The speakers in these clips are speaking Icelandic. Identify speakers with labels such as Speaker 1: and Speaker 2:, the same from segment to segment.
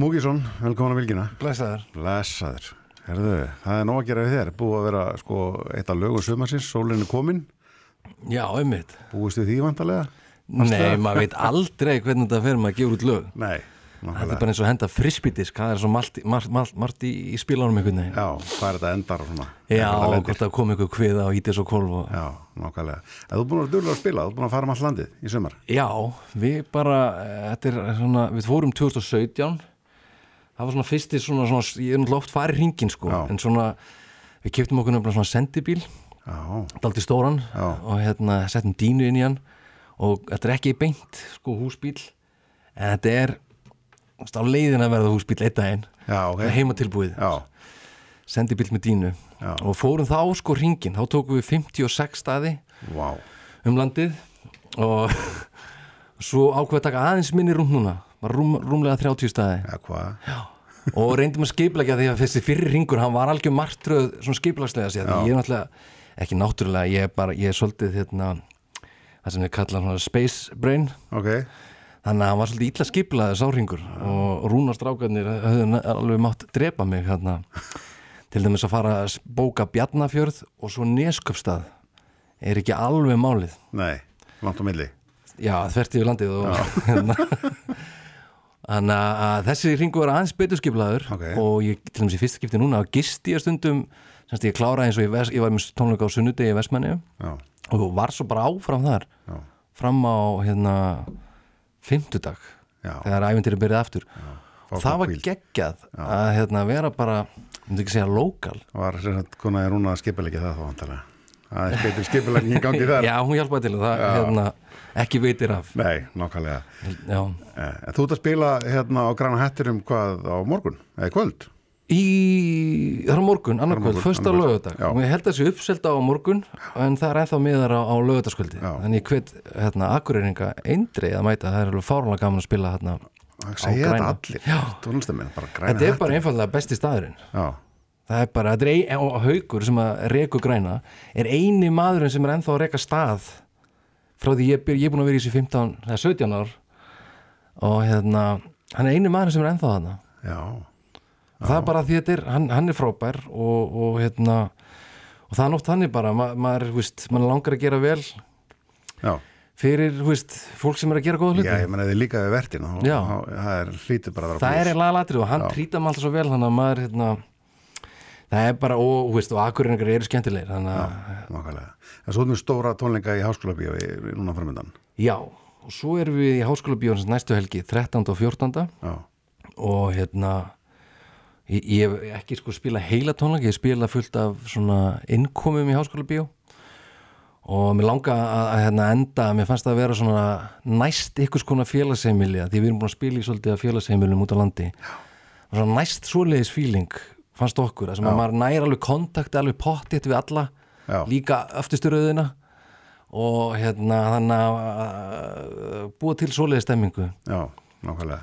Speaker 1: Múkisson, velkomin að Vilgina.
Speaker 2: Blessaður.
Speaker 1: Blessaður. Herðu, það er nóg að gera við þér. Búið að vera sko eitt af lögu sömarsins, sólinn er komin.
Speaker 2: Já, einmitt.
Speaker 1: Búist við því vantarlega?
Speaker 2: Nei, maður veit aldrei hvernig þetta fer maður að gefa út lög.
Speaker 1: Nei.
Speaker 2: Þetta er
Speaker 1: nákvæmlega.
Speaker 2: bara eins og að henda frisbytisk, það er svo margt, margt, margt, margt í, í spilunum einhvern veginn.
Speaker 1: Já, hvað er þetta endar og svona? Hvað
Speaker 2: Já,
Speaker 1: þetta
Speaker 2: og
Speaker 1: lendir?
Speaker 2: hvort það kom einhver kviða og hítið svo kolv og...
Speaker 1: Já, nákvæmlega. En þú er búin að vera duglegur að spila, þú er búin að fara um all landið í sömar.
Speaker 2: Já, við bara, eh, þetta er svona, við fórum 2017, það var svona fyrsti svona, svona ég er náttúrulega oft farið hringin sko,
Speaker 1: Já.
Speaker 2: en svona, við kiptum okkur nefnilega svona sendibíl,
Speaker 1: Já,
Speaker 2: daldi stóran
Speaker 1: Já.
Speaker 2: og hérna settum dínu inn í hann og þetta er ekki beint sko húsbíl en þetta er þú veist, á leiðin að verða húsbíl eitt daginn
Speaker 1: já, ok.
Speaker 2: okay. heimatilbúið,
Speaker 1: Já,
Speaker 2: sendibíl með dínu
Speaker 1: Já.
Speaker 2: og fórum þá sko ringin þá tókum við 56 staði
Speaker 1: vá.
Speaker 2: um landið og svo ákveð að taka aðeins minni rúm núna var rúm, rúmlega 30 staði
Speaker 1: Já, hvað?
Speaker 2: og reyndum að skipleggja því að þessi fyrir ringur hann var algjör martröð svona skiplagslega sér
Speaker 1: Já.
Speaker 2: ég er náttúrulega, ekki náttúrulega ég er bara, ég er svolítið hérna það sem við kalla svona space brain
Speaker 1: Ok,
Speaker 2: þannig að hann var svolítið illa skipulaðið sáringur og rúnastrákarnir höfðu na- alveg mátt drepa mig hérna til dæmis að fara að s- bóka Bjarnafjörð og svo Nesköpstað er ekki alveg málið
Speaker 1: nei, langt á milli.
Speaker 2: Já, þvert yfir landið og hérna Þannig að- að þessi ringur var aðeins betur skiplaður
Speaker 1: Ok.
Speaker 2: og ég, til dæmis í fyrsta skipti núna gisti ég stundum, semst ég kláraði eins og ég, vers, ég var með tónleika á sunnudegi í Vestmanni
Speaker 1: Já,
Speaker 2: og var svo bara áfram þar
Speaker 1: já,
Speaker 2: fram á hérna fimmtudag
Speaker 1: já.
Speaker 2: þegar æfintir er byrjað aftur
Speaker 1: Fá
Speaker 2: það var
Speaker 1: hvíld.
Speaker 2: geggjað að hérna, vera bara, um þetta ekki segja lokal
Speaker 1: Var sem sagt, konar er hún að skipilegja það þá vantarlega. Það er betur skipilegja í gangi þar.
Speaker 2: Já, hún hjálpaði til og það hérna, ekki veitir af
Speaker 1: Nei, nákvæmlega.
Speaker 2: Já.
Speaker 1: Eh, en Þú ert að spila hérna á Grana Hætturum hvað á morgun, eða í kvöld?
Speaker 2: Í, það er á morgun, annarkvöld,
Speaker 1: morgun,
Speaker 2: fyrsta
Speaker 1: annað kvöld,
Speaker 2: lögadag
Speaker 1: já.
Speaker 2: og ég held að þessi uppselda á morgun en það er ennþá miðar á, á lögadagskvöldi
Speaker 1: Já.
Speaker 2: þannig ég hvet hérna, akureyringa eindri að mæta, það er alveg fárlega gaman að spila hérna
Speaker 1: Það segja
Speaker 2: Græna.
Speaker 1: þetta allir,
Speaker 2: Já.
Speaker 1: tónlistamenn, bara Grana
Speaker 2: þetta er
Speaker 1: Hætturum.
Speaker 2: bara einfallega besti staðurinn
Speaker 1: Já,
Speaker 2: það er bara, þetta er ein, og haukur sem að reku græna, er eini maðurinn sem er ennþá að reka stað frá því ég, byr, ég er búin að vera í þessu 15 eða 17 ár og hérna, hann er eini maðurinn sem er ennþá þarna
Speaker 1: já,
Speaker 2: það er bara því þetta er, hann, hann er frábær og, og hérna og það er oft þannig bara, ma maður, þú veist maður langar að gera vel
Speaker 1: já.
Speaker 2: fyrir, þú veist, fólk sem er að gera
Speaker 1: Já,
Speaker 2: góða hluti
Speaker 1: ég menna þið líka við vertin og
Speaker 2: Já.
Speaker 1: það er hlítið bara að vera
Speaker 2: það er
Speaker 1: plús.
Speaker 2: eiginlega latrið og hann trýta maður alltaf svo vel þannig að maður, hérna það er bara, og, þú veist, og akkurinningar eru skemmtilegir þannig að,
Speaker 1: Nákvæmlega. En svo erum við stóra tónleika í háskóla bíó núna framöndan.
Speaker 2: já. og svo erum við í háskóla bíóns næstu helgi 13. og 14.
Speaker 1: Já,
Speaker 2: og hérna ég, ég hef ekki sko spila heila tónleik ég spila fullt af svona innkomum í háskóla bíó og mér langa að, að hérna enda mér fannst það að vera svona næst ykkurs konar félagseimilja því við erum búin að spila í svolítið af félagseimiljum út á landi og svona næst svoleiðis fíling fannst okkur, þar sem að maður næri alveg kontakti alveg pottitt við alla
Speaker 1: Já.
Speaker 2: líka öftusturöðina og hérna þannig að að búa til svoleiðis stemmingu
Speaker 1: já, nákvæmlega.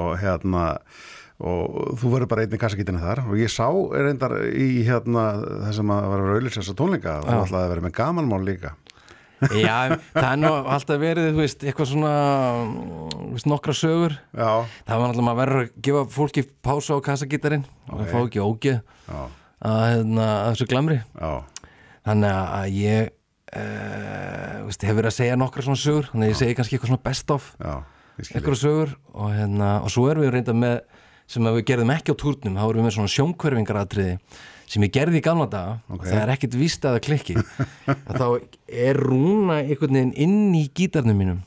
Speaker 1: Og hérna, og þú verður bara einnig kassakitinni þar og ég sá reyndar í hérna þessum að vera auðvitað þessa tónleika og þú ætlaði að vera með gamanmál líka.
Speaker 2: Já, það er nú alltaf verið, þú veist, eitthvað svona, mm, þú veist, nokkra sögur.
Speaker 1: Já,
Speaker 2: Það var alltaf maður verður að gefa fólki pása á kassagítarinn og fá ekki ógeð
Speaker 1: já,
Speaker 2: að, hérna, að þessu glamri.
Speaker 1: já.
Speaker 2: Þannig að ég, uh, veist, hef verið að segja nokkra svona sögur, þannig að ég segi kannski eitthvað svona best of,
Speaker 1: Já, ég skil
Speaker 2: eitthvað sögur og, hérna, og svo erum við reynda með, sem að við gerðum ekki á túrnum, þá erum við með svona sjónkverfingaratriði sem ég gerði í gamla daga
Speaker 1: Ok.
Speaker 2: það er ekkert víst að það klikki að þá er rúna einhvern veginn inn í gítarnum mínum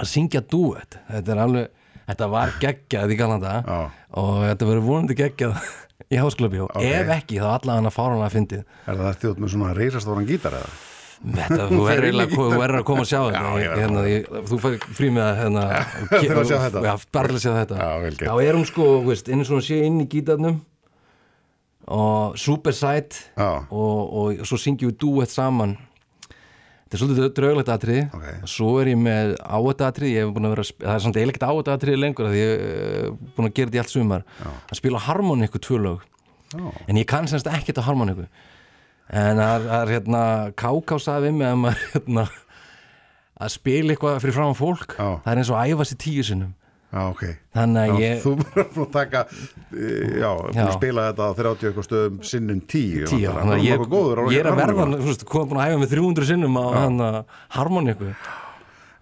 Speaker 2: að syngja duet þetta er alveg, þetta var geggjað í gamla daga
Speaker 1: Já.
Speaker 2: og þetta verður vonandi geggjað í háskóla bíó
Speaker 1: Ok.
Speaker 2: ef ekki þá allavega að fáranlega að fyndið
Speaker 1: Er það þjótt með svona reysastóran gítar eða?
Speaker 2: Þetta, þú
Speaker 1: fer inn
Speaker 2: verður
Speaker 1: í
Speaker 2: eiginlega- þú verður að koma að sjá þetta
Speaker 1: Já, ég verð að
Speaker 2: hérna, ég, Þú fær frí með að hérna,
Speaker 1: þarf að sjá þetta.
Speaker 2: Já, bara að sjá þetta
Speaker 1: Já, vel gert.
Speaker 2: Þá er hún sko, þú veist, inn, svona, sé inn í gítarnum og super sight
Speaker 1: Já.
Speaker 2: og, og svo syngjum við duett saman Þetta er svolítið drauglegt atrið
Speaker 1: Ok.
Speaker 2: og svo er ég með áætt atrið ég hef búin að vera, að sp- það er samt eiginlega áætt atrið lengur af því ég er búin að gera þetta í allt sumar að spila harmoníku tvö lög
Speaker 1: Já,
Speaker 2: en ég kann semst ekkert á harmoníku en það er- það er hérna Káká sagði við mig um að maður hérna að spila eitthvað fyrir fram á fólk
Speaker 1: Já.
Speaker 2: það er eins og að æfa sér tíu sinnum
Speaker 1: já, ok
Speaker 2: þannig
Speaker 1: Já,
Speaker 2: að ég
Speaker 1: Þú verður búin að taka eh, Já, búin að
Speaker 2: Já.
Speaker 1: spila þetta á 30 eitthvað stöðum sinnum 10
Speaker 2: tíu
Speaker 1: væntanlega.
Speaker 2: þannig að
Speaker 1: Þú
Speaker 2: ég,
Speaker 1: nokkuð góður á
Speaker 2: ég er að verða
Speaker 1: harmoníkuna.
Speaker 2: þú veist, koma búin að hæfa með 300 sinnum á hérna, hann að harmoniku já,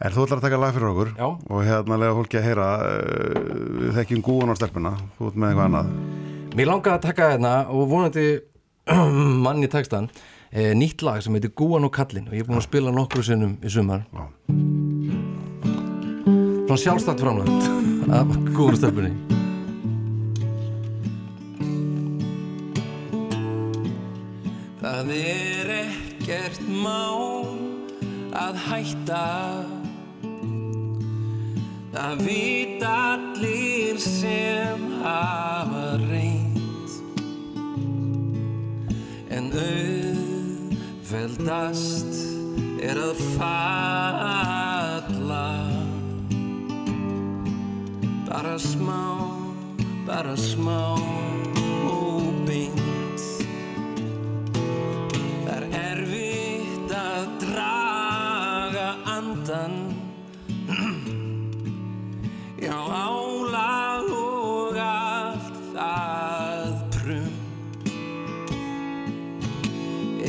Speaker 1: En þú ætlar að taka lag fyrir okkur
Speaker 2: Já.
Speaker 1: og hérna lega fólki að heyra uh, þekkjum gúan á stelpuna, þú ert með eitthvað annað
Speaker 2: mér langaði að taka hérna og vonandi manni textan e, nýtt lag sem heitir Gúan og Kallin og ég er búin að spila nokkru sinnum í sumar
Speaker 1: Já.
Speaker 2: svona sjálfstætt framlægt af Gúan og Stelpunni Það er ekkert mál að hætta Það vita allir sem hafa reynt En auðveldast er að falla Bara smá, bara smá og beint Það er erfitt að draga andan Já, álag og allt það prum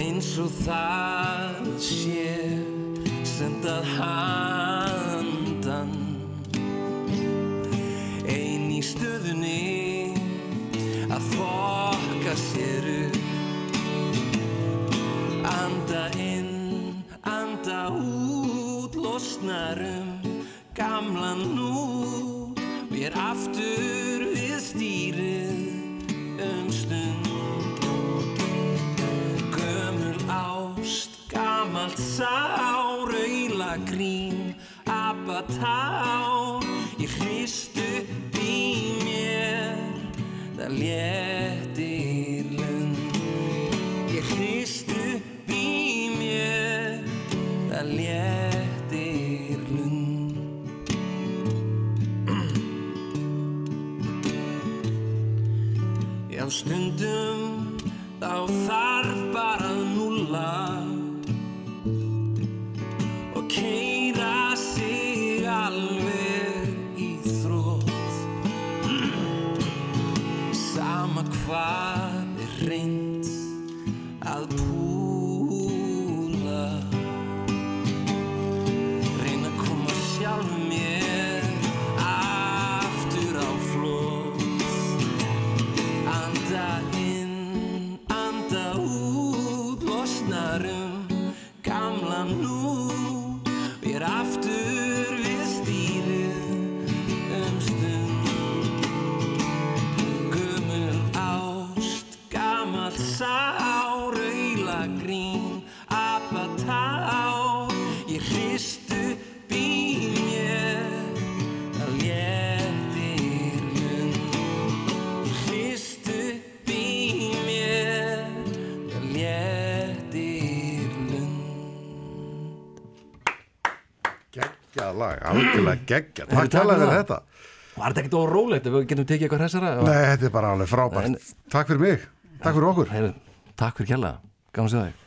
Speaker 2: Eins og það sé sendað handan Ein í stöðunni að fokka sér upp Anda inn, anda út, losnar um gamlan nú og ég er aftur við stýrið um stund. Gömul ást, gamalt sár, auðla grín, abatár, ég hristu upp í mér, það léttir lund. Ég hrist upp í mér Það léttir lund Já, stundum þá þarf bara að núlla og keira sig alveg í þrótt Sama hvað er reynd að púla reyna að koma sjálf mér aftur á flótt anda inn anda út losnar um gamla nú við er aftur við stýrið um stund Gömul ást, gamalt sár, auðla grín, apatár, ég hristu upp í mér, það léttir lund. Ég hristu upp í mér, það léttir lund.
Speaker 1: Geggjað lag, algjörlega geggjað
Speaker 2: Heyrðu,
Speaker 1: Takk talaði fyrir
Speaker 2: takk fyrir það.
Speaker 1: þetta
Speaker 2: Var þetta ekkert órólegt ef við getum tekið eitthvað hressara?
Speaker 1: Nei, þetta er bara alveg frábært
Speaker 2: En-
Speaker 1: Takk fyrir mig, takk fyrir okkur
Speaker 2: Heyrðu, Takk fyrir kjalla, gaman að sjá þig.